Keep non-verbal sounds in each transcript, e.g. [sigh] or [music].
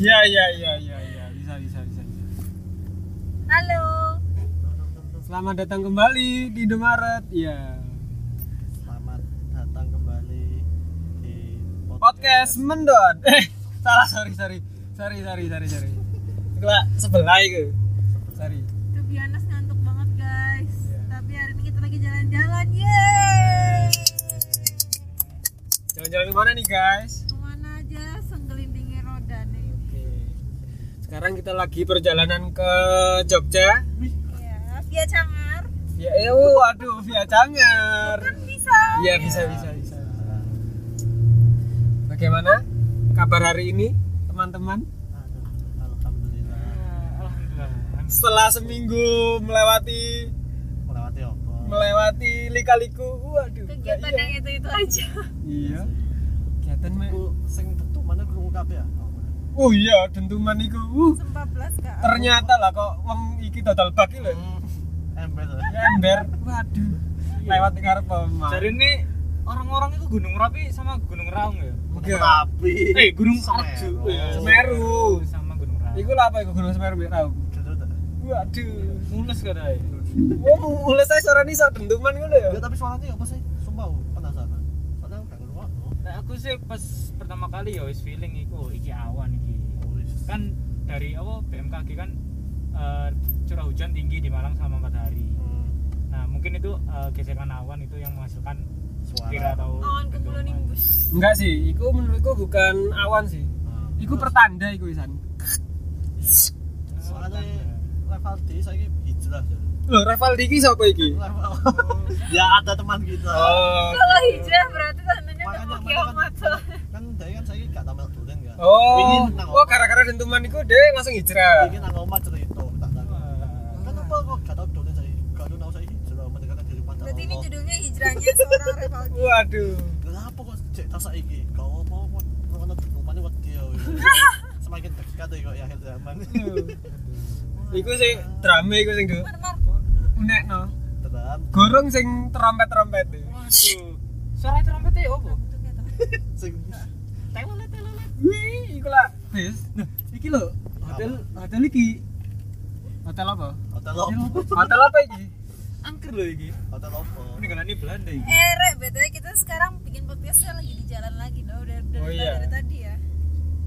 iya iya iya iya bisa bisa bisa. bisa. Halo. Selamat datang kembali di Indomaret. Ya. Selamat datang kembali di Podcast Mendot. Eh, salah sorry sorry. Sorry sorry sorry sorry. Iku Pak, sebelah itu. Sorry. To be honest, ngantuk banget guys. Tapi hari ini kita lagi jalan-jalan. Yeay. Jalan-jalan kemana nih guys? Kemana aja senggelilingi roda nih. Oke. Sekarang kita lagi perjalanan ke Jogja. Ya, via Cangar. Ya, eh, waduh, via Cangar. Kan bisa. Iya bisa bisa bisa. Bagaimana kabar hari ini teman-teman? Aduh, alhamdulillah Setelah seminggu melewati melewati apa? melewati lika-liku, waduh. Kegiatan yang nggak itu-itu aja. Iya. Kegiatan me. Aku sing tentu mana kurung kabeh ya. Oh, bener. Oh iya, dentuman iku. Uh, 14 kak. ternyata lah kok wong iki dodol bak iki lho. Hmm. Ember tuh. Ya, Ember, waduh. Iya. Lewat ngarep omah. Jadi ini orang-orang itu Gunung Merapi sama Gunung Raung ya? Enggak. Tapi Eh Gunung Semeru. Arjo ya. Semeru. sama Gunung Raung. Iku lah apa iku Gunung Semeru Mbak Rau? Duduk, duduk. Waduh. mulus katanya. Wong mulai saya suara iso dentuman ngono ya. Ya tapi suaranya apa sih? Sumpah aku penasaran. Padahal gak ngeluar loh. Nah, aku sih pas pertama kali ya wis feeling iku oh, iki awan iki. Kan dari apa BMKG kan eh, curah hujan tinggi di Malang sama matahari. Nah, mungkin itu eh, gesekan awan itu yang menghasilkan Suara. kira atau Nah, Awan dentuman. kumulonimbus. Enggak sih, iku menurutku bukan awan sih. Hmm. Iku pertanda iku Isan. Eh, Soalnya tanda. level D saya ini hijrah. jadi. Loh, Rivaldi iki sapa iki? Level ya ada teman kita. Oh. Kalau hijrah berarti tandanya udah Makanya mau makanya kiamat. kan, kan dari kan saya gak tampil durian kan. Ini Oh, nang oh gara-gara dentuman iku dia langsung hijrah. Ini nang omah cerita tak tahu. Eh, Kan apa kok gak tahu durian saya. Gak tahu saya hijrah mendekatkan diri pada Berarti ini Allah. judulnya hijrahnya seorang Revaldi. Waduh. Kenapa kok cek tas saiki? Kau apa kok ngono rupane wedi ya. Semakin dekat ya kok ya akhir zaman. Iku sing drama iku sing Mar, Mar. unekno. Tenan. Gorong sing trompet-trompet. Waduh. Suara trompetnya ya, opo? Bentuknya tuh. Sing Telolet telolet. Wih, iku lah bis. Nah, iki lho, hotel hotel iki. Hotel apa? hotel opo? Hotel apa iki? Angker loh iki. Hotel opo? Ini kan ini Belanda iki. Eh, Re, btw kita sekarang bikin podcastnya lagi di jalan lagi, loh. Udah udah Oh, dari, iya. dari tadi ya.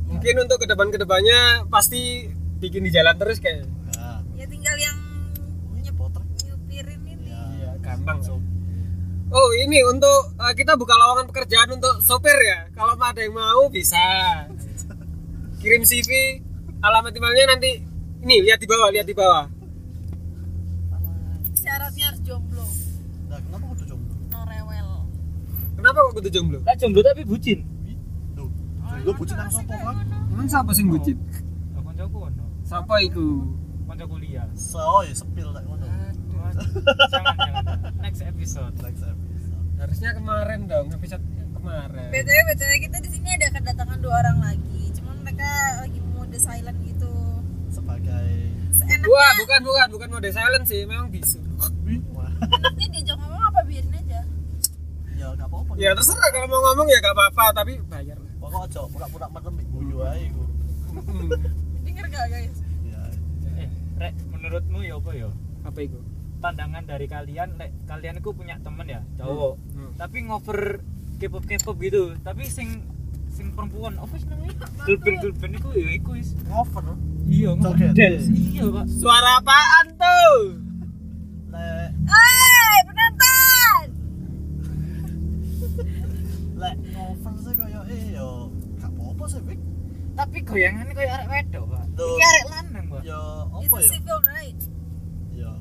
Mungkin untuk ke depan-kedepannya pasti bikin di jalan terus kayak. Ya, Ya tinggal yang ini poter. nyupirin ini. Iya, gampang sob. Oh ini untuk eh, kita buka lowongan pekerjaan untuk sopir ya. Kalau ada yang mau bisa kirim CV, alamat emailnya nanti ini lihat di bawah, lihat di bawah. Syaratnya harus jomblo, Nah, kenapa kudu jomblo? no rewel. Kenapa kok kudu jomblo? Lah jomblo tapi bucin. Duh, jomblo bucin nang sopo kan? gitu, Emang siapa sih bucin? Lah kancaku ono. Siapa itu? Kanca kuliah. So, ya sepil tak ngono. Jangan jangan. Next episode. Like saya bisa. Harusnya kemarin dong, episode kemarin. btw btw kita di sini ada kedatangan dua orang lagi. Cuman mereka lagi mode silent gitu. Sebagai Seenak Wah, bukan bukan bukan mode silent sih, memang bisu. Wah, enaknya diajak ngomong apa biarin aja. ya gak apa-apa. Ya terserah kalau mau ngomong ya gak apa-apa, tapi bayar. lah. Pokok aja pura-pura merem guyu ae iku. Hmm. Dengar gak guys? Ya. Eh, Rek, menurutmu ya apa ya? Apa itu? Pandangan dari kalian, Lek, kalian itu punya temen ya, cowok. Hmm. Tapi ngover K-pop K-pop gitu. Tapi sing sing perempuan apa sih namanya? Gulben-gulben iku ya iku wis. Over. Iya, Joget. dance. Iya, Pak. Suara apaan tuh? Lek Hai penonton. lek over sih koyo eh yo gak apa-apa sih, Wik. Tapi goyangannya kayak arek wedok, Pak. Duh. Iki arek lanang, Pak. Ya It's apa a ya? civil right. Ya,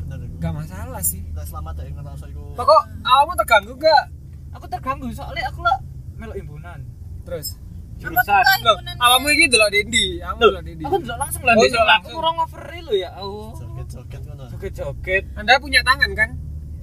bener iku. Gak masalah sih. Nah, selamat ya ngerasa iku. Pokok awakmu terganggu gak? Aku terganggu soalnya aku lah melok imbunan. Terus. Jurusan. Apakah Loh, himpunan- awakmu iki delok Dendi, awakmu delok Dendi. Aku Iya. ndelok langsung lah. Oh, Aku ndelok langsung. langsung ora ngover lo ya. Oh. Joget-joget ngono. Joget-joget. Anda punya tangan kan?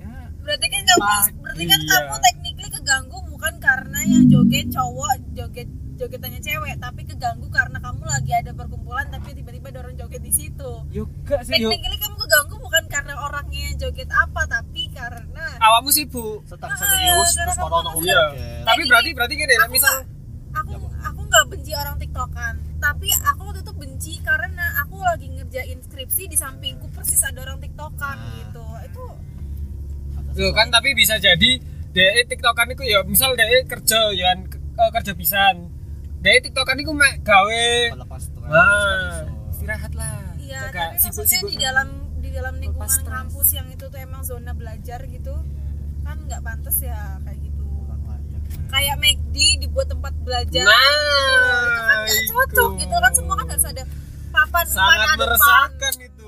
Ya. Berarti kan kamu, Ah, berarti kan iya. kamu technically keganggu bukan karena yang joget cowok, joget jogetannya cewek, tapi keganggu karena kamu lagi ada perkumpulan tapi tiba-tiba ada orang joget di situ. Yo gak sih yo. Technically kamu keganggu bukan karena orangnya yang joget apa, tapi karena Awakmu sibuk. Sedang serius terus karena malah ono kamu Iya. joget. Tapi berarti berarti gini, aku misal nggak- aku aku nggak benci orang tiktokan, tapi aku waktu itu benci karena aku lagi ngerjain skripsi di sampingku persis ada orang tiktokan Ah. gitu itu Loh kan tapi bisa jadi DE TikTokan itu ya misal DE kerja ya ke- eh, kerja pisan. DE TikTokan itu mek gawe. Lepas stres, Nah, habis itu. istirahat lah. iya Jaga tapi maksudnya sibuk-sibuk. di gitu. dalam di dalam Lepas lingkungan stres. kampus yang itu tuh emang zona belajar gitu kan nggak pantas ya kayak gitu Pulang layak. kayak McD dibuat tempat belajar Nah, itu kan nggak cocok itu. gitu kan semua kan harus ada papan sangat depan, ada meresahkan itu.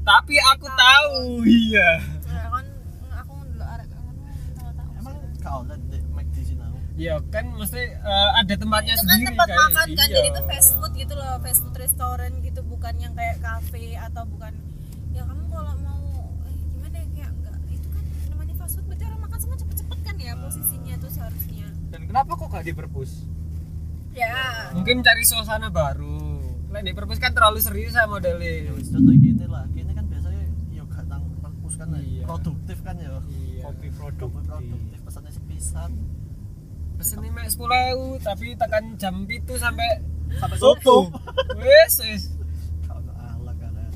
Tapi aku tahu, iya. papan. Ya kan aku ndelok arek kangen, tahu-tahu. Emang kau lihat di McD sih nang? Ya kan mesti eh, ada tempatnya itu kan sendiri tempat kayaknya. makan kan Iya. jadi itu fast food gitu loh fast food restoran gitu bukan yang kayak cafe atau bukan ya kamu kalau mau eh, gimana ya kayak enggak itu kan namanya fast food berarti orang makan semua cepet-cepet kan ya posisinya tuh seharusnya dan kenapa kok gak di perpus ya Mungkin cari suasana baru. Lain di perpus kan terlalu serius sama Ya modelnya. wis contoh gini lah. Gini kan biasanya yo gak nang perpus kan lah. Iya. produktif kan ya. Iya. kopi produk Produktif, produktif pesannya sepisan. Pesen nih mek 10.000 tapi tekan jam 7 sampai Sampai tutup. Wes wes. Kau nggak alat kan ya.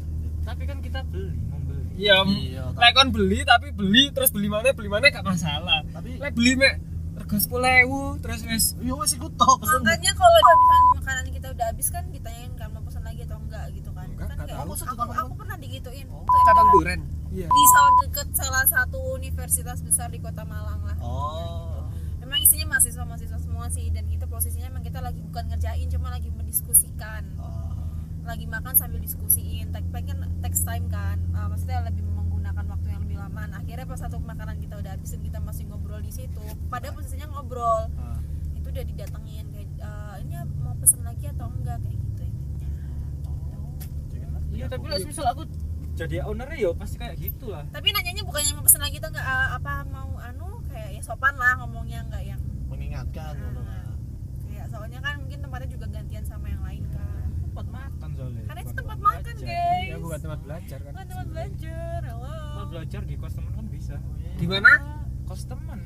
tapi kan kita beli membeli Iya. Iya, tapi- Lek kon beli tapi beli terus beli mana beli mana gak masalah. Tapi- lek beli mek rego 10.000 terus wes Yo wis iku tok pesen. makanya kalau misalnya makanan kita udah habis kan ditanyain kan mau pesan lagi atau enggak gitu kan Enggak, kan enggak kayak tahu. aku, aku, aku pernah digituin Oh. Tuh, cabang duren. Iya. di salah deket salah satu universitas besar di kota Malang lah Oh. Emang isinya mahasiswa-mahasiswa semua sih dan kita posisinya emang kita lagi bukan ngerjain cuma lagi mendiskusikan Ah. lagi makan sambil diskusiin tag pack kan text time kan Ah, maksudnya lebih menggunakan waktu yang lebih lama Nah, akhirnya pas satu makanan kita udah habis dan kita masih ngobrol di situ padahal posisinya ngobrol Ah. itu udah didatengin kayak "Eh, ini mau pesen lagi atau enggak kayak gitu intinya Oh. Jadi kan iya tapi lah misal aku jadi ownernya ya pasti kayak gitu lah tapi nanyanya bukannya mau pesen lagi atau enggak eh, apa mau anu kayak ya sopan lah ngomongnya enggak yang mengingatkan ngono lah. kayak soalnya kan mungkin tempatnya juga gantian sama yang lain kan tempat makan soalnya karena itu bukan Iya, tempat makan belajar. guys Ya bukan tempat belajar kan. Bukan tempat belajar halo Kalau belajar di kos temen kan bisa Di mana? kos temen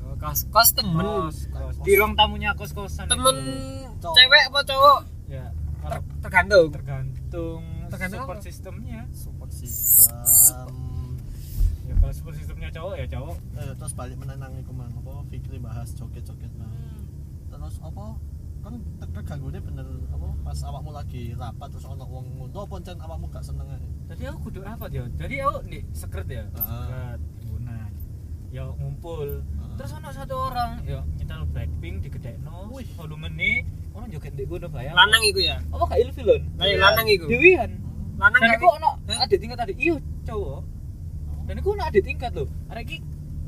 Oh, Kos kos temen. kos di ruang tamunya kos kosan Temen Oh, Cowok. cewek apa cowok? ya Ter- kalau tergantung. tergantung Tergantung support apa? sistemnya Support system. ya kalau support sistemnya cowok ya cowok Eh, terus balik menenang iku mang apa Fikri bahas joget-joget mang. Hmm. terus apa kan terganggu deh bener apa pas awakmu lagi rapat terus ono wong ngono apa encen awakmu gak seneng ae tadi aku kudu apa ya jadi aku nih sekret ya Heeh. sekret timbunan ya ngumpul Heeh. terus ono satu orang ya nyetel blackpink di gedekno Wih. volume nih orang joget di gunung bayang Lanang iku ya. apa gak ilfil lon Lah iya, lanang iku. dewian Lanang dan kan. aku ono Hah? adik tingkat tadi iyo cowok dan aku ono adik tingkat loh arek iki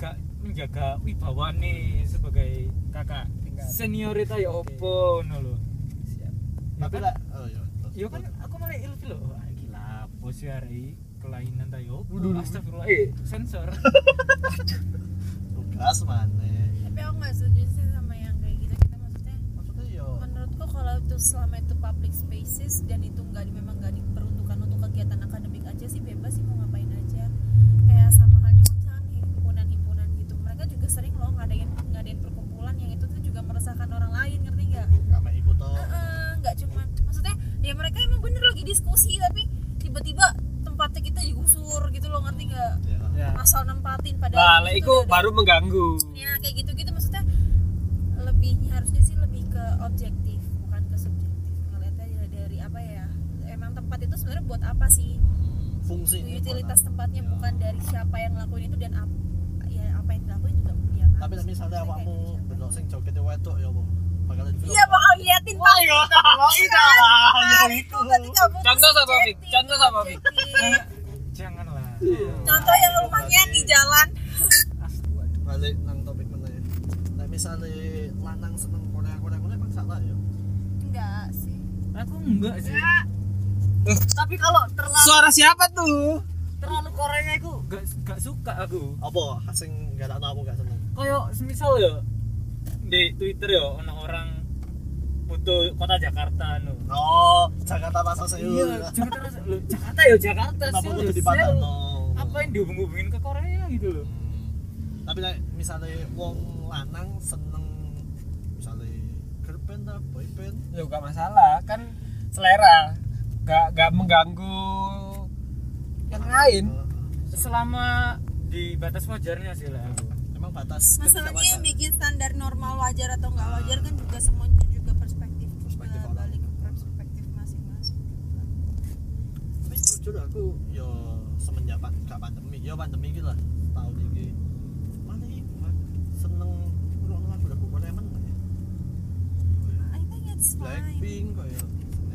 gak menjaga wibawane sebagai kakak tingkat. seniorita ya opo ngono lho Siap. tapi lah oh iya terus- Ya kan? Iya kan aku malah ilfil loh. Wah, Gila, bos ya hari kelainan ta yo. Waduh. Astagfirullah. Eh, sensor. tugas mana tapi aku nggak setuju sih sama yang kayak gitu kita maksudnya maksudnya iya. yo menurutku kalau itu selama itu public spaces dan itu nggak di- memang nggak diperuntukkan untuk kegiatan akademik aja sih bebas sih mau ngapain aja kayak sama halnya kalau misalkan himpunan-himpunan gitu mereka juga sering loh ngadain ngadain perkumpulan yang itu tuh juga meresahkan orang lain ngerti nggak kame iku to Heeh, nggak cuma maksudnya ya mereka emang bener lagi diskusi tapi tiba-tiba tempatnya kita digusur gitu loh ngerti nggak ya Ya. asal nempatin Nah, Lah, padahal lek itu iku udah- baru mengganggu. ya kayak gitu-gitu maksudnya lebih harusnya sih lebih ke objektif bukan ke subjektif ngeliatnya ya dari apa ya emang tempat itu sebenarnya buat apa sih Hmm, fungsi utilitas tempatnya Ya. bukan dari siapa yang ngelakuin itu dan apa ya apa yang dilakuin juga dia kan tapi misalnya Maksudnya kayak awakmu dari siapa. belok sing joget wedok ya apa bakal ilfil iya bakal ngeliatin pak iya, Ayo, kalau ida. Nah, itu berarti nggak butuh Contoh sama Fik, subjektif, contoh sama Fik. objektif. [laughs] Janganlah. contoh yang rumahnya di jalan Astagfirullah. balik nang topik mana ya nah misalnya lanang seneng korea korea korea emang salah ya enggak sih Aku enggak sih. Tapi kalau terlalu Suara siapa tuh? Terlalu Korea aku enggak enggak suka aku. apa sing gak tau aku gak seneng Kayak semisal ya di Twitter ya ono orang foto kota Jakarta anu. no. oh Jakarta masa sewu Iya, Jakarta rasa- loh, Jakarta ya Jakarta kenapa sih, kudu loh, dipatah sel. Apa yang dihubung-hubungin ke Korea gitu loh. Hmm. tapi like, misalnya wong lanang seneng misalnya girl band lah boy band Ya gak masalah, kan selera gak gak mengganggu yang lain selama di batas wajarnya sih lah aku Emang batas masalahnya yang ketidakwajaraan. bikin standar normal wajar atau nggak wajar kan juga semuanya juga perspektif Perspektif eh, orang. balik ke perspektif masing-masing tapi jujur aku yo semenjak pan- gak pandemi yo pandemi gitu lah tahun ini mana ini Mak? seneng ruang lagu lagu Korean nggak ya I think it's fine Blackpink kayak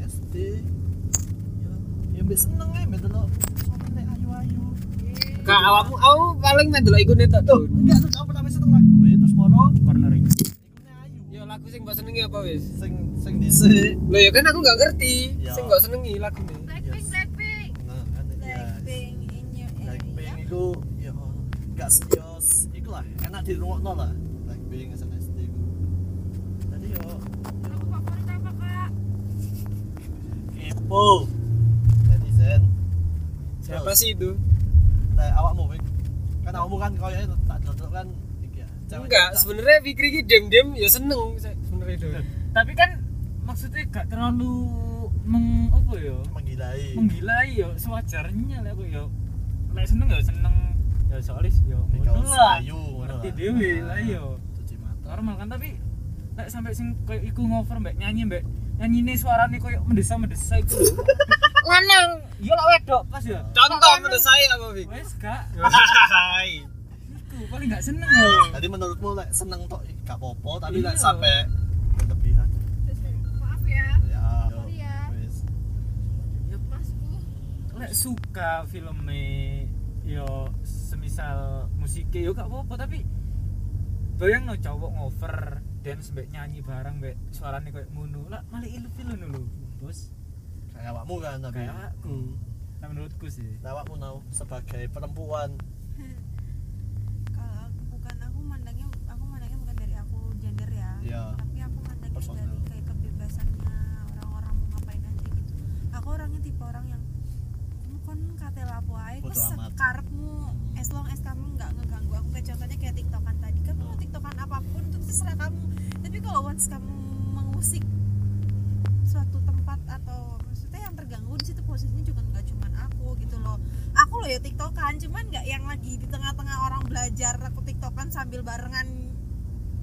SNSD ya ya mbak seneng ya mbak lo soalnya ayu ayu gak awakmu awakmu paling main dulu ikut itu tuh enggak tuh kamu pertama seneng lagu ya terus moro cornering ikutnya ayu yo lagu sing mbak senengi apa wis sing sing disi lo ya kan aku gak ngerti Ya. sing mbak senengi lagu ini Blackpink Yes. Blackpink nah kan ya Blackpink in your Blackpink area Iya, itu ya gak serius itu lah enak di rumah lah Blackpink SNSD itu tadi yo lagu favorit apa kak kepo netizen siapa sih itu nah, awakmu Wik. kan awakmu kan kau ya tak cocok kan iki ya cewek- enggak tak- sebenarnya Fikri ki dem dem ya seneng se- sebenarnya itu tapi kan maksudnya gak terlalu meng apa ya menggilai menggilai ya sewajarnya lah aku ya nek seneng ya seneng ya soalnya ya Mikau ngono lah sayu, ngono ngerti lah. dewe Ah, lah ya cuci mata normal kan tapi nek sampai sing kayak iku ngover mbak nyanyi mbak nyanyi suarane kayak mendesa mendesa iku lho. lanang iya lah wedok pas ya contoh menurut saya apa Fik [laughs] iya. wes gak Hai. iku paling gak seneng loh jadi menurutmu lek seneng tok ih, gak apa-apa tapi lek Iya. sampai berlebihan maaf ya ya Sorry ya. wis. masku lek suka filmnya yo semisal musiknya yo gak apa-apa tapi bayang no cowok ngover dance mbak nyanyi bareng mbak suaranya kayak ngunu lah malah ilu pilu dulu bos kayak awakmu kan tapi kayak aku nah, menurutku sih Nah, awakmu nau sebagai perempuan kalau aku bukan aku mandangnya aku mandangnya bukan dari aku gender ya Iya. tapi aku mandangnya Personal. dari kayak kebebasannya orang-orang mau ngapain aja gitu aku orangnya tipe orang yang "Mu kon kate lapo ae Bodo wis amat." sekarepmu as long as kamu nggak ngeganggu aku kayak contohnya kayak tiktokan tadi kamu mau tiktokan apapun itu terserah kamu tapi kalau once kamu mengusik suatu tempat atau maksudnya yang terganggu di situ posisinya juga nggak cuman aku gitu loh aku loh ya tiktokan cuman nggak yang lagi di tengah-tengah orang belajar aku tiktokan sambil barengan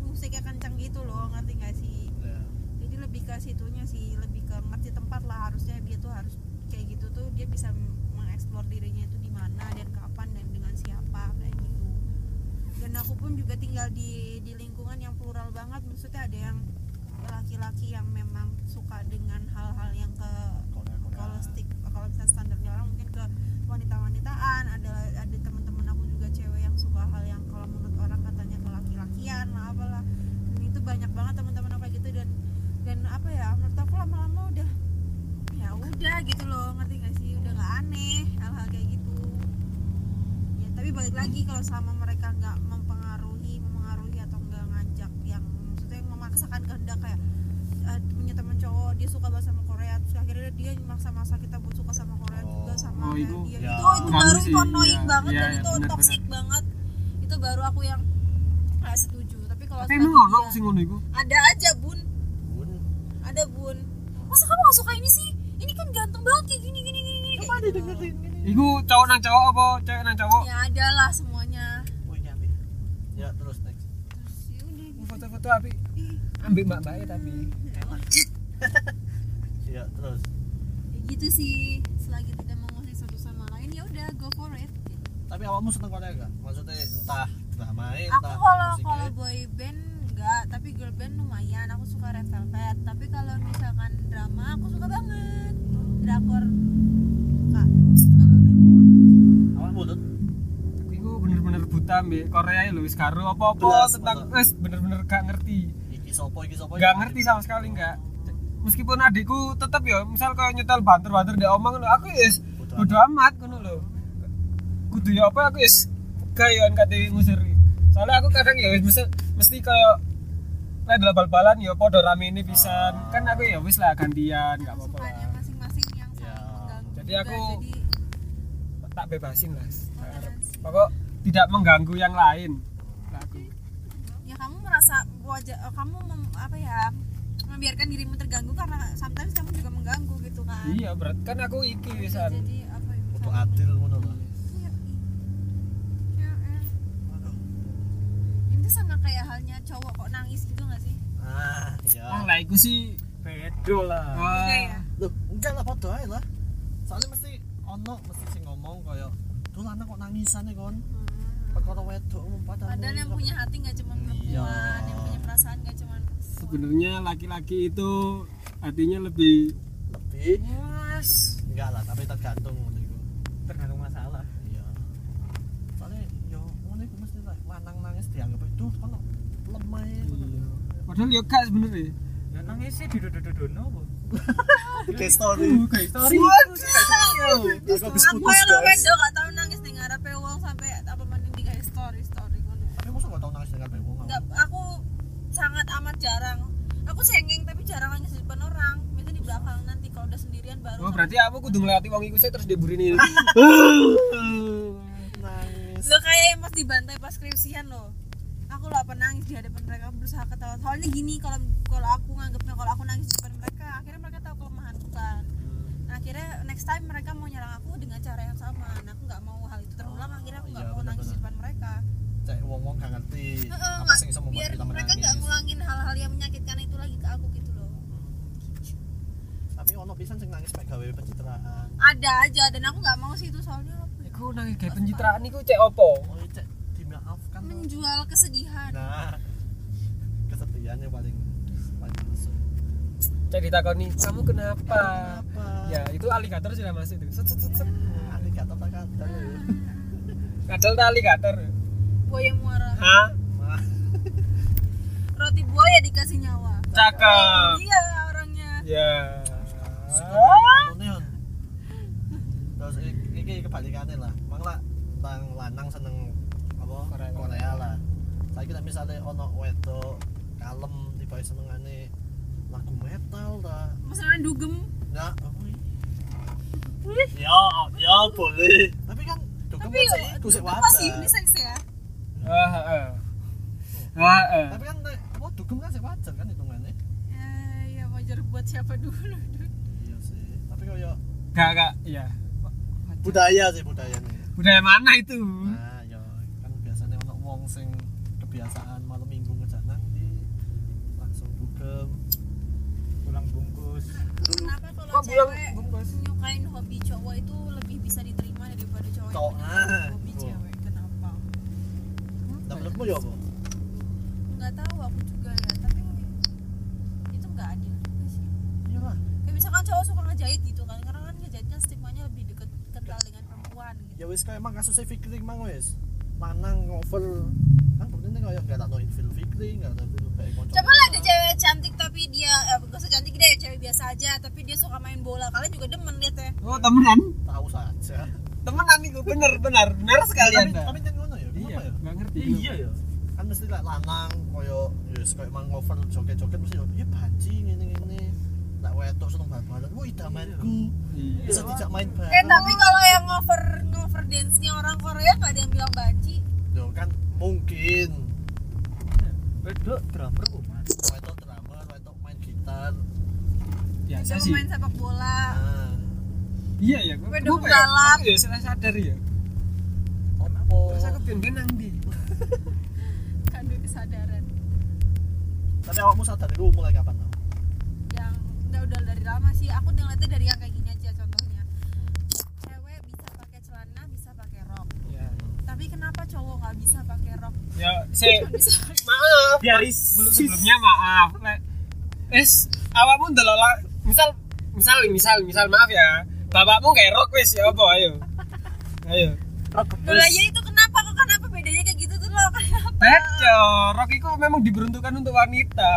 musiknya kencang gitu loh ngerti nggak sih ya. jadi lebih ke situnya sih lebih ke ngerti tempat lah harusnya dia tuh harus kayak gitu tuh dia bisa mengeksplor dirinya itu di mana dan kapan dan dengan siapa kayak gitu dan aku pun juga tinggal di di lingkungan yang plural banget maksudnya ada yang laki-laki yang memang suka dengan hal-hal yang ke Korea-Korea. kalau stick kalau misalnya standarnya orang mungkin ke wanita-wanitaan ada ada teman-teman aku juga cewek yang suka hal yang kalau menurut orang katanya ke laki-lakian lah apalah dan itu banyak banget teman-teman aku kayak gitu dan dan apa ya menurut aku lama-lama udah ya udah gitu loh ngerti gak sih udah nggak aneh hal-hal kayak gitu ya tapi balik lagi kalau selama mereka nggak mempengaruhi memengaruhi atau nggak ngajak yang maksudnya yang memaksakan kehendak kayak eh, punya teman cowok dia suka banget sama Korea terus akhirnya dia maksa-maksa kita buat suka sama Korea juga sama Oh, kayak itu- dia ya. itu itu baru Manusia, itu annoying iya. banget Iya, dan iya, itu benar, toxic banget itu baru aku yang nggak setuju tapi kalau Tapi selama emang ono dia- sing ngono iku. ada aja bun Bun. ada bun masa kamu gak suka ini sih ini kan ganteng banget kayak gini gini gini gini kayak gitu. Iku cowok nang cowok apa cewek nang cowok? ya ada lah semuanya Wih, nyambi. ya terus next terus ya udah gitu. Foto-foto tapi ambil mbak-mbaknya tapi. ya terus ya gitu sih selagi tidak menguasai satu sama lain ya udah go for it tapi awakmu seneng Korea gak? maksudnya entah dramain aku entah kalau musiknya. kalau boy band enggak tapi girl band lumayan aku suka Red Velvet tapi kalau misalkan drama aku suka banget drakor suka suka banget awakmu tuh Iku bener-bener buta mbek Korea ya lho wis karo apa-apa Belas, tentang foto. wis bener-bener gak ngerti. iki sopo iki sopo Gak ngerti sama sekali gak. Meskipun adikku tetep ya, misal kayak nyetel banter-banter dia omong ngono, aku ya Bodo bodo amat ngono lho. Kudu ya apa aku wis gayoan kate ngusir. Soalnya aku kadang ya wis mesti mesti kayak Nah, dalam bal-balan ya podo rame ini pisan. Kan aku ya wis lah gantian, gak apa-apa. kesukaannya lah. Iya. masing-masing yang saling Ya. mengganggu Jadi juga. aku- jadi tak bebasin mas Toleransi. pokok tidak mengganggu yang lain Lah, aku ya kamu merasa wajar eh, kamu mem- apa ya membiarkan dirimu terganggu karena sometimes kamu juga mengganggu gitu kan iya berat kan aku iki bisa wisan jadi apa ya Kudu adil ngono lah. Iya, iya. Ya, eh. Ini sama kayak halnya cowok kok nangis gitu gak sih? Ah, iya. ah lah iku sih eh, bedo lah wah Iya ya. Loh, enggak lah padha ae lah. Soalnya mesti ono mesti sing ngomong kaya Duh anak kok nangisan nih kon Perkara wedok umpat Padahal yang punya hati gak cuma perempuan, Iya. yang punya perasaan gak cuma perempuan. sebenarnya laki-laki itu hatinya lebih Lebih luas Enggak lah, tapi tergantung ngono iku. tergantung masalah Iya. Soalnya yo ngono iku mesti lah lanang nangis dianggap duh kono lemah ya, kono. Iya. padahal ya gak sebenarnya ya nangis sih di dodo dodo nopo [laughs] Kayak story. kayak story Aku habis Aku putus yang lo guys. wedo gak tau nangis nih ngarepe wong sampai apa maning di kayak story story ngono. Tapi masa gak Ya, tau nangis dengan kayak wong. Enggak, aku sangat amat jarang. Aku sengeng tapi jarang nangis di depan orang. Biasanya di belakang nanti kalau udah sendirian baru. oh berarti aku kudu ngelewati wong iku sih terus diburini Nangis. lo kayak yang pas dibantai pas skripsian lo aku lo apa nangis di hadapan mereka aku berusaha ketawa soalnya gini kalau kalau aku nganggapnya kalau aku nangis di depan mereka akhirnya mereka tahu kelemahanku kan nah akhirnya next time mereka mau nyerang aku dengan cara yang sama nah aku nggak mau hal itu terulang akhirnya aku nggak Iya, mau nangis di benar-benar. depan mereka Cek wong-wong gak ngerti Heeh, apa nggak- sing iso biar membuat kita mereka menangis. nggak ngulangin hal-hal yang menyakitkan itu lagi ke aku gitu loh Tapi ono pisan sing nangis mek gawe pencitraan. ada aja dan aku nggak mau sih itu soalnya apa ya? aku nangis kayak pencitraan iku cek opo Oh, cek dimaafkan. loh. menjual kesedihan Nah, [laughs] kesetiaannya paling paling masuk. cek ditakoni kamu kenapa Apa? ya itu alligator sudah masuk tuh set set set, set. Ani Nah, gak tau tak ada loh. kadal tak alligator buaya muara hah Mah, roti buaya dikasih nyawa cakep iya orangnya ya Nah, ini on. Terus i- iki kebalikannya lah. Mangla tang lanang seneng apa? Korea. Korea, lah. Saiki nek misale ono wedok kalem tiba senengane lagu metal ta. masalahnya dugem Ya, ya, ya boleh. Tapi kan dugem tapi ya, kan sih, itu iku sih masih wajar. unisex ya ah ah ah ah Tapi kan nek apa dugem kan sih wajar kan hitungannya. ya ya wajar buat siapa dulu Dut. Iya sih. Tapi kaya gak gak ya budaya sih budayanya. budaya mana itu Nah, ya kan biasanya ono wong sing kebiasaan malam minggu ngejak nang di langsung dugem. tulang bungkus kenapa kalau Kok bilang cewek bungkus? nyukain hobi cowok itu lebih bisa diterima daripada cowok yang Cowok, menyukai ah. hobi Oh. cewek kenapa Nah, Lah menurutmu ya apa? nggak tahu aku juga ya tapi itu nggak adil juga sih Iya lah. kayak misalkan cowok suka ngejahit gitu kan karena kan ngejahitnya stigmanya lebih deket kental dengan perempuan gitu Ya wis kaya emang kasusnya Fikri mang wis. Lanang ngover kan penting kaya gak tak noin film Fikri, gak tak film kayak kanca. Coba lah ada cewek cantik tapi dia eh, gak usah cantik deh cewek biasa aja tapi dia suka main bola kalian juga demen lihat Nah, ya oh temenan Nah, tahu saja. temenan itu bener benar benar sekali Tapi anda tapi jangan ngono ya. iya Kenapa ya? gak ngerti ya kan mesti lah lanang koyo yes koyo emang ngover joget-joget mesti yo iya banci ngene-ngene tak wedok seneng bal-balan wah idamanku Iya. bisa tidak main bal Eh nah, tapi kalau yang over over dance nya orang Korea nggak ada yang bilang banci. Yo, kan mungkin bedo drummer kok mas wedok drummer wedok main gitar biasa Itu sih pemain sepak Ya. bola. nah iya ya Wedok Kenapa ya? pembalap. Aku ya salah sadar ya opo Oh. terus aku ben nang ndi Kandu Kan kesadaran tapi awakmu sadar iku mulai kapan tau yang nggak udah dari lama sih. Aku ngeliatnya dari yang kayak gini aja contohnya. Cewek bisa pakai celana, bisa pakai rok. ya Tapi kenapa cowok nggak bisa pakai rok? ya saya [laughs] Cuma bisa maaf garis sebelum Iya, sebelumnya maaf Lek. es awakmu ndelok la- misal misal misal misal maaf ya bapakmu kayak rock wis ya apa ayo ayo rock Loh, iya. lah, ya itu kenapa kok kenapa bedanya kayak gitu tuh loh [laughs] kenapa? Beco, ya. rock itu memang diperuntukkan untuk wanita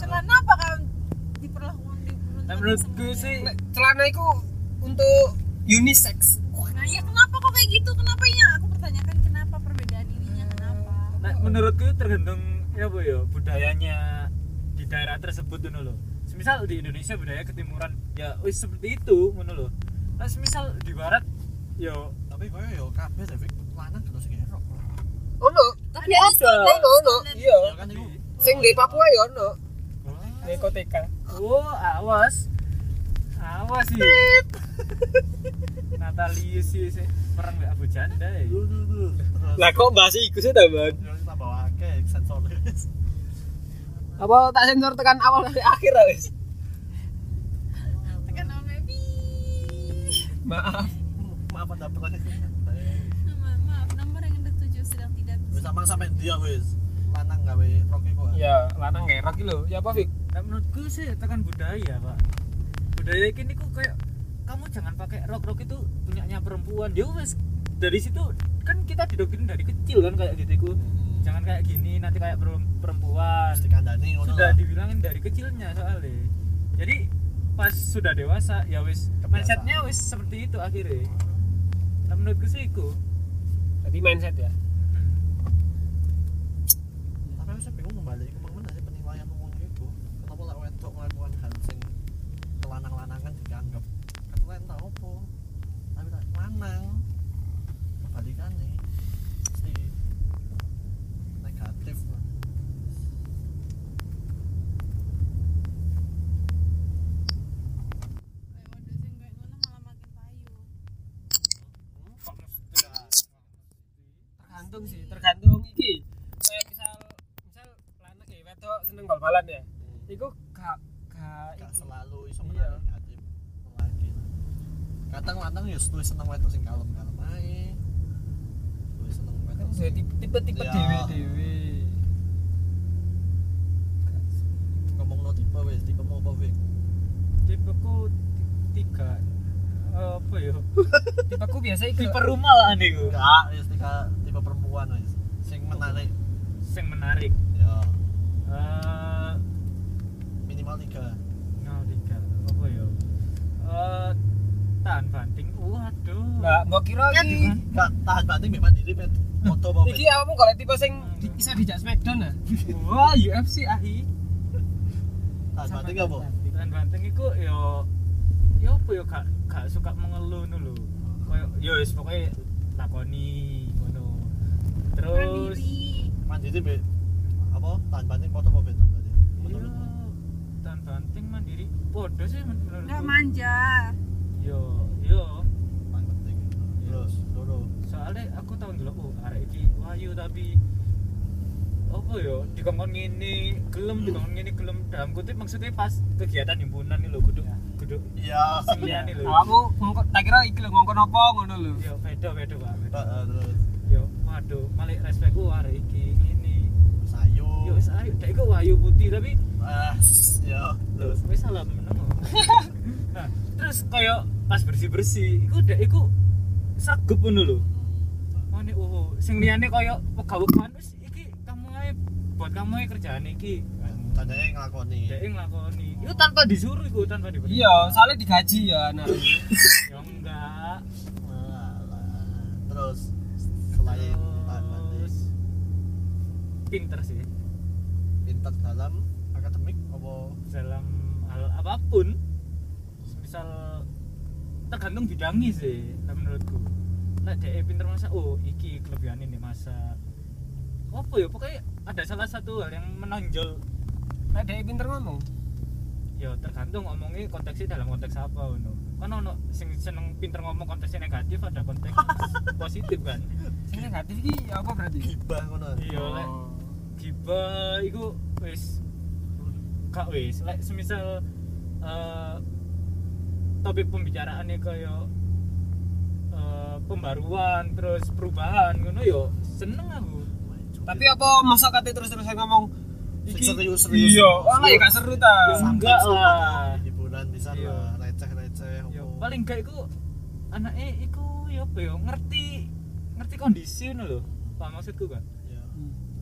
Celana apa kan diperlakukan diperlakukan Nah, menurutku semuanya. sih Lek, celana itu untuk unisex Nah ya kenapa kok kayak gitu? Kenapa ya? Aku pertanyakan kenapa perbedaan ininya kenapa? Nah, menurutku tergantung ya bu ya budayanya di daerah tersebut dulu loh. Semisal di Indonesia budaya ketimuran ya wis seperti itu ngono loh. Nah, semisal di barat ya tapi koyo yo kabeh deh Fik. lanang terus sing rock ono Tapi ada. ono ono iya kan iku sing di Papua ya ono Oh, Nekoteka. Oh, awas. Awas iya. sih. Natalius sih sih. iya, perang gak abu janda ya. Dulu, dulu, dulu. Terus- Lah kok bahas iku sih tambahan? terus kita bawa ke sensor Apa tak sensor tekan awal dari akhir lah, wis? tekan nama baby Maaf. [laughs] maaf ada apa Ma- maaf nomor yang anda tuju sedang tidak wis samang sampe dia wis lanang gawe roki kok Ya, lanang ngerak iki lho. Ya apa, Fik? Nah, menurutku sih tekan budaya, Pak. Budaya ini kok kayak kamu jangan pakai rok-rok itu punyanya perempuan. Dia wes dari situ kan kita didoktrin dari kecil kan kayak gitu iku. Hmm. Jangan kayak gini nanti kayak perem- perempuan. pasti kandani ngono Sudah lah dibilangin dari kecilnya soalnya. Jadi pas sudah dewasa ya wis Kebiasaan. mindsetnya wis seperti itu akhirnya. Nah, menurutku sih iku. Hmm. Tadi mindset ya. tapi aku sih bingung kembali ke mana sih penilaian umum itu kenapa lah wedok melakukan hal sing kelanang-lanangan dianggap keren tau apa tapi tak lanang kebalikannya si negatif lah Waduh, sing kayak ngono malah makin payu. tergantung sih tergantung iki kayak misal misal lanang ya wedok seneng bal-balan ya iku gak gak gak iki. selalu iso Iya. menarik hati lagi kadang lanang ya setuju seneng wedok sing kalem-kalem ae Setuju seneng kan wedok sudah tipe- tipe-tipe Ya. dewe-dewe ngomong no tipe wis tipe mau apa wis tipeku ti- tiga apa ya tipeku biasa iku [laughs] tipe rumah lah nih gue enggak wis tipe ya, tipe perempuan wis sing menarik yang menarik ya Eh, minimal tiga nol tiga apa ya Eh, tahan banting waduh lah mbok kira Ya, iki dengan- enggak tahan banting memang diri pet foto apa ya, iki apa kalau tipe sing di- bisa dijak smackdown ya wah UFC ah. ahi tahan Sama banting gak bu tahan banting itu yo yo apa ya gak gak suka mengeluh dulu koyo yo wis pokoknya lakoni ngono terus Mandiri. mandiri be apa tahan banting foto apa itu berarti Iya, menurutmu tahan banting mandiri podo sih men- Nggak menurutku manja. yo yo tahan banting Iya. terus loro soalnya aku tau dulu oh arek iki wayu tapi apa yo dikongkon ngene gelem dikongkon ngene gelem dalam kutip maksudnya pas kegiatan himpunan nih lo kudu kudu iya sing liyane lho kamu ngongkon tak kira iki lho ngongkon apa ngono lho yo beda beda pak beda. Heeh, eh, terus yo waduh malik respect gua arek iki ngene sayu yo wis ayo dek iku wayu putih tapi ah ya Loh, terus wis salah meneng. [laughs] nah, terus koyo pas bersih-bersih, iku dek iku sregep ngono lho. Mane oh, sing liyane koyo wegah-wegahan wis iki kamu ae buat kamu ae kerjaan iki. tandanya ngelakoni Dek nglakoni. Iku tanpa disuruh iku, tanpa diberi. iya soalnya digaji ya nah Ya enggak. Alah. terus selain tahan banting Terus pinter sih pintar dalam akademik apa dalam hal apapun. Misal tergantung bidangnya sih lah menurutku lah dia pinter masak oh iki kelebihan ini masak apa ya pokoknya ada salah satu hal yang menonjol nah dia pinter ngomong ya tergantung omongnya konteksnya dalam konteks apa no. kan ono sing seneng pinter ngomong konteksnya negatif ada konteks positif kan sing negatif iki apa berarti gibah ngono iya lek gibah iku wis gak wis lek semisal eh, topik pembicaraannya kayak eh, pembaruan terus perubahan ngono yo seneng aku tapi apa masa kate terus-terusan ngomong iki Serius-serius. iya ana ya gak seru ta Ya, enggak lah hiburan bisa Iya. lah receh-receh yo apa. paling gak iku anaknya iku yo apa yo ngerti ngerti kondisi ngono lho paham maksudku gak Iya.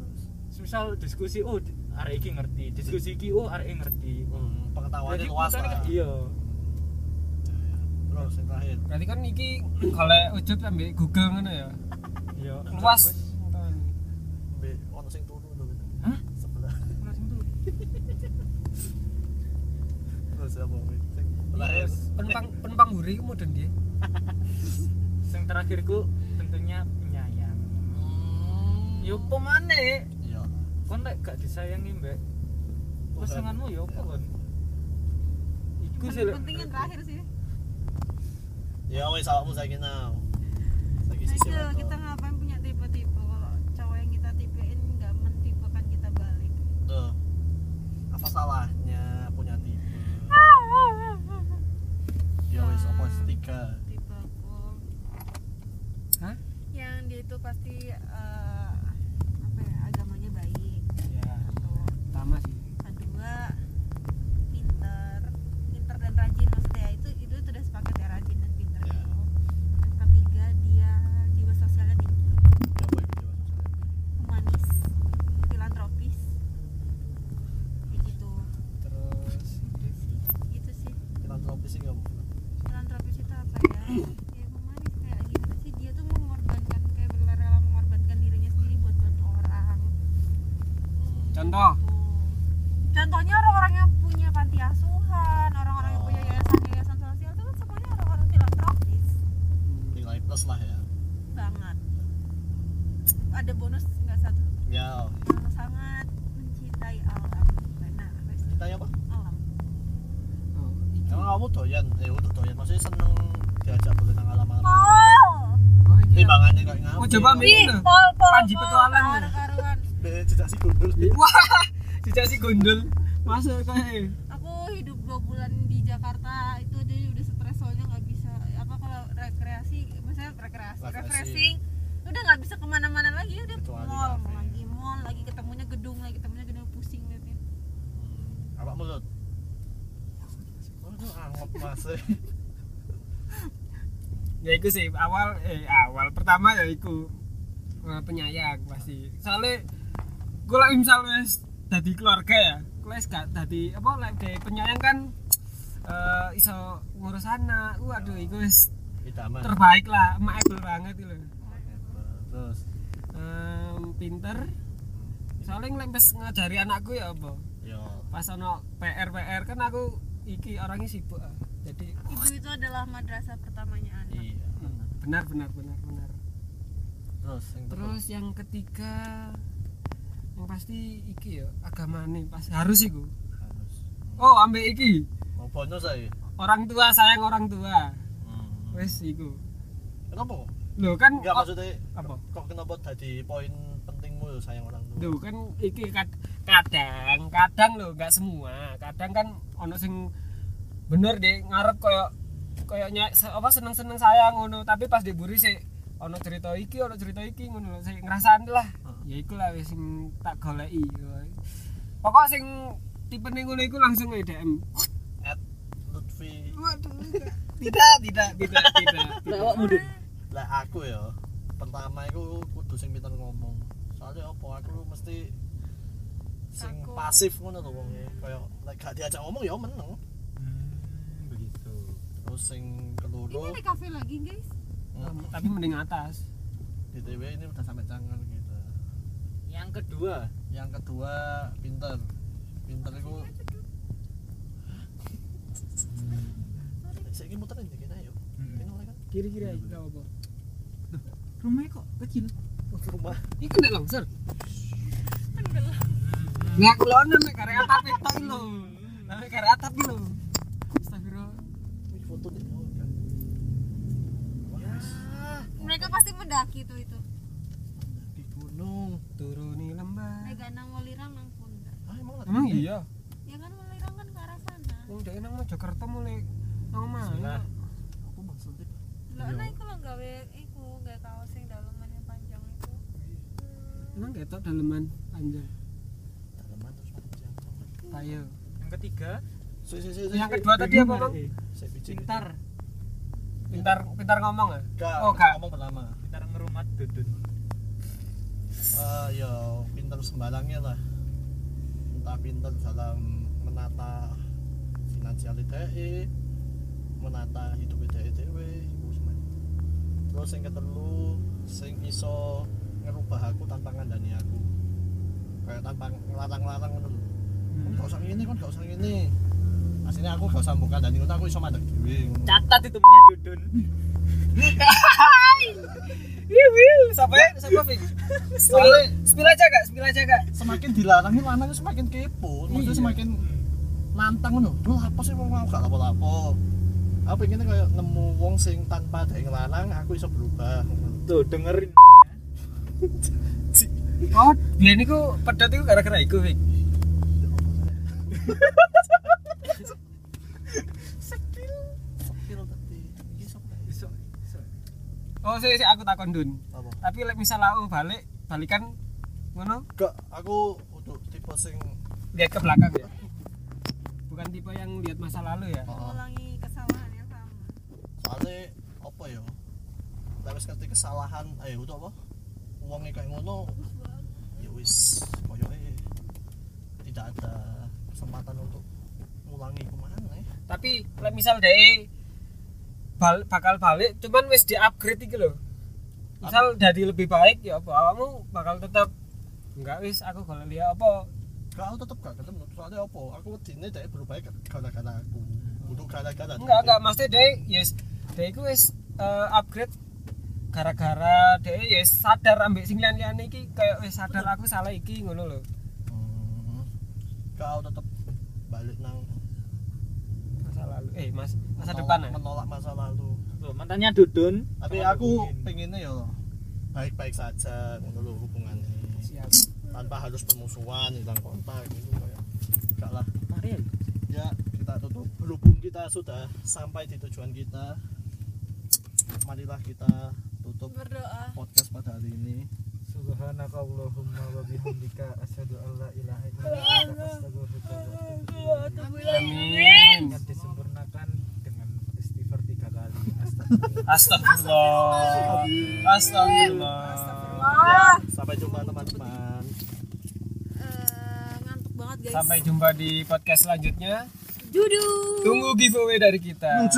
Terus, misal diskusi oh arek iki ngerti diskusi iki oh arek iki ngerti hmm, pengetahuannya luas bukan lah kayak- iya Iya. terus yang terakhir berarti kan iki kalau ujub ambil Google ngono ya iya luas be ono sing turu lho gitu. Hah? sebelah [laughs] Langsung tuh. terus apa Be? sing Iya, terakhir Terus penumpang penumpang buri ku mudeng dia yang terakhirku tentunya penyayang. Yo pemane iya kon lek gak disayangi mbak pesanganmu ya apa kon Iku sih Yang penting yang terakhir sih. ya wes awakmu saiki now saiki sisi Ayo wedok. kita ngapain punya tipe-tipe kalau cowok yang kita tipein nggak mentipekan kita balik. Tuh. apa salahnya punya tipe ya wes apa wes tiga Tipe aku Hah? yang dia itu pasti eh, apa ya agamanya baik. ya Satu. pertama sih kedua pinter pinter dan rajin maksudnya itu itu sudah sepakat ya rajin dan pinter Ya. itu yang ketiga dia jiwa sosialnya tinggi ya boy gitu humanis filantropis kayak gitu terus gitu sih kita tropis sih kamu filantropis itu apa ya ya humanis kayak gimana sih dia tuh mengorbankan kayak rela mengorbankan dirinya sendiri buat bantu orang gitu. contoh Contohnya orang-orang yang punya panti asuhan, orang-orang yang punya yayasan-yayasan sosial itu kan semuanya orang-orang filantropis nilai plus lah ya banget. Ada bonus nggak satu ya yang sangat mencintai alam. Nah, wes, kita apa alam. Hmm. Oh, iki. emang kamu doyan eh untuk doyan maksudnya seneng diajak boleh nang alam alam Pol, Oh, iki ya. timbangannya kayak ngapa Oh, coba, Mi. ih, pol, pol, Panji pol, petualang. karu- karuan. tidak sih gundul wah [laughs] jejak si gondol masuk kayak Aku hidup dua bulan di Jakarta itu aja udah stres soalnya nggak bisa apa kalau rekreasi, misalnya rekreasi, Rekreasi. refreshing udah nggak bisa kemana-mana lagi udah Kecuali mall kafe. lagi mall lagi ketemunya gedung lagi ketemunya gedung pusing gitu. liatnya Hmm, apa mulut Oh, ah, Aduh, anggap [laughs] masih ya itu sih awal eh awal pertama ya itu eh, penyayang pasti soalnya gue lah misal wes dari keluarga ya gue wes gak dari apa lah dari penyayang kan eh, iso ngurus anak waduh itu wes idaman terbaik lah maable banget itu terus Em, pinter soalnya ngelempes ngajari anakku ya apa yo pas ono PR PR kan aku iki orangnya sibuk ah. jadi ibu itu adalah madrasah pertamanya anak iya benar benar benar benar terus yang Terus yang ketiga yang pasti iki ya agama nih pas harus iku. harus Oh ambek iki mau bonus saya orang tua sayang orang tua. Hmm. Wes iku. kenapa Loh kan enggak o- maksudnya apa? kok kenapa tadi poin pentingmu sayang orang tua Loh kan iki kad- kadang kadang loh nggak semua. Kadang kan ono sing bener deh ngarep koyo koyo ny- se- apa seneng-seneng sayang ngono tapi pas diburi sih ono cerita iki ono cerita iki ngono sih ngrasani lah. Heeh. ya iku lah wis sing tak goleki pokok sing tipe ning ngono iku langsung EDM at Lutfi waduh tidak tidak tidak tidak tidak lah aku ya pertama itu kudu sing pinter ngomong soalnya apa aku mesti sing Aku. pasif ngono lho wong kaya lek gak diajak ngomong ya meneng hmm, begitu terus sing ini keloro ada kafe lagi guys Um, tapi mending atas di TV ini udah sampai canggih gitu yang kedua yang kedua pinter pinter itu saya muter nih kita yuk Hmm. ini oleh kan kiri-kiri aja enggak apa rumahnya kok kecil ke rumah iku nek longsor nek Nah, aku lono nek karya atap itu lho nek karya atap lho astagfirullah ini foto nih oh, Ya. kan. mereka pasti mendaki tuh itu di gunung turuni lembah mereka nang walirang nang pundak ah emang lah emang iya ya kan walirang kan ke arah sana wong dek nang Mojokerto mulai nang Bismillah. mana aku maksudnya lo Iya. anak nah, itu lo gawe iku gawe kaos yang daleman yang panjang itu emang ketok daleman panjang dalaman terus panjang ayo yang ketiga si si si si yang kedua tadi apa bang saya bikin pintar pintar pintar ngomong ya Gak, Oh, gak. ngomong pertama kita ngerumat dudut Eh, ya pinter sembalangnya lah entah pinter dalam menata finansial ITE menata hidup E ITE dewe iku semen. terus yang ketelu sing iso ngerubah aku tanpa ngandani aku kayak tanpa ngelarang-larang ngono lho. Kon gak usah ngene kon gak usah ngene aslinya aku gak usah buka dan aku iso mandek dhewe ngono. catat itu punya dudun Iu, iu. Sampai [laughs] sampai Spill, spill aja kak, spill aja kak. semakin dilarang ini lanang itu semakin kepo maksudnya Iya. semakin nantang loh lu apa sih mau mau gak lapo lapo aku pengennya kayak nemu wong sing tanpa ada yang lanang aku bisa berubah tuh dengerin Oh, biar niku pedot itu gara-gara iku, Fik. Sepil tadi Iki sok kayak Iso, iso. Oh, sih, sih, aku takon dun. apa? Tapi like, misalnya aku balik, balikan ngono, gak aku untuk tipe sing lihat ke belakang ya. Bukan tipe yang lihat masa lalu ya. oh, mengulangi kesalahan yang sama soalnya apa ya tapi ngerti kesalahan ayo udah apa uangnya kayak ngono ya wis koyoke tidak ada kesempatan untuk ngulangi kemana ya Tapi like, misal deh bal bakal balik, cuman wis di upgrade iki loh. Misal jadi lebih baik ya apa awakmu bakal tetap enggak wis aku golek liya apa Gak, aku tetep gak ketemu. Soalnya apa? Aku wedine dhek berubah gara-gara aku. Untuk gara-gara. enggak enggak maksudnya deh yes deh itu wis eh, upgrade gara-gara deh yes sadar ambek sing lian-lian iki kayak wis sadar aku salah iki ngono lho Hmm. Kau tetep balik nang masa lalu eh mas masa menolak- depan eh. ya menolak masa lalu. Tuh, mantannya Dudun. Tapi Sama aku Dudin. pengennya ya baik-baik saja ngono lho hubungannya. siap Tanpa harus permusuhan, hilang kontak gitu kayak. Enggak lah. Mari ya. Ya, kita tutup. Berhubung kita sudah sampai di tujuan kita. Marilah kita tutup berdoa podcast pada hari ini. Subhanakallahumma wa bihamdika asyhadu an la ilaha illa anta astaghfiruka wa atubu ilaik. amin Ingat disempurnakan dengan istighfar tiga kali. astagfirullah astagfirullah Wah, Sampai jumpa teman-teman. eh, ngantuk banget guys sampai jumpa di podcast selanjutnya Duduk. tunggu giveaway dari kita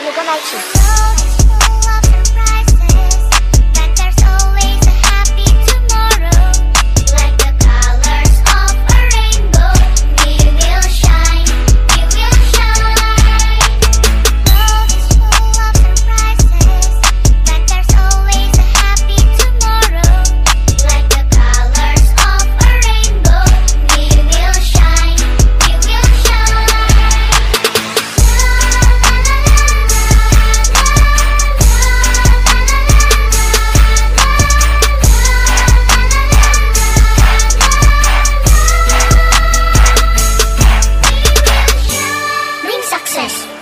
Bukan action.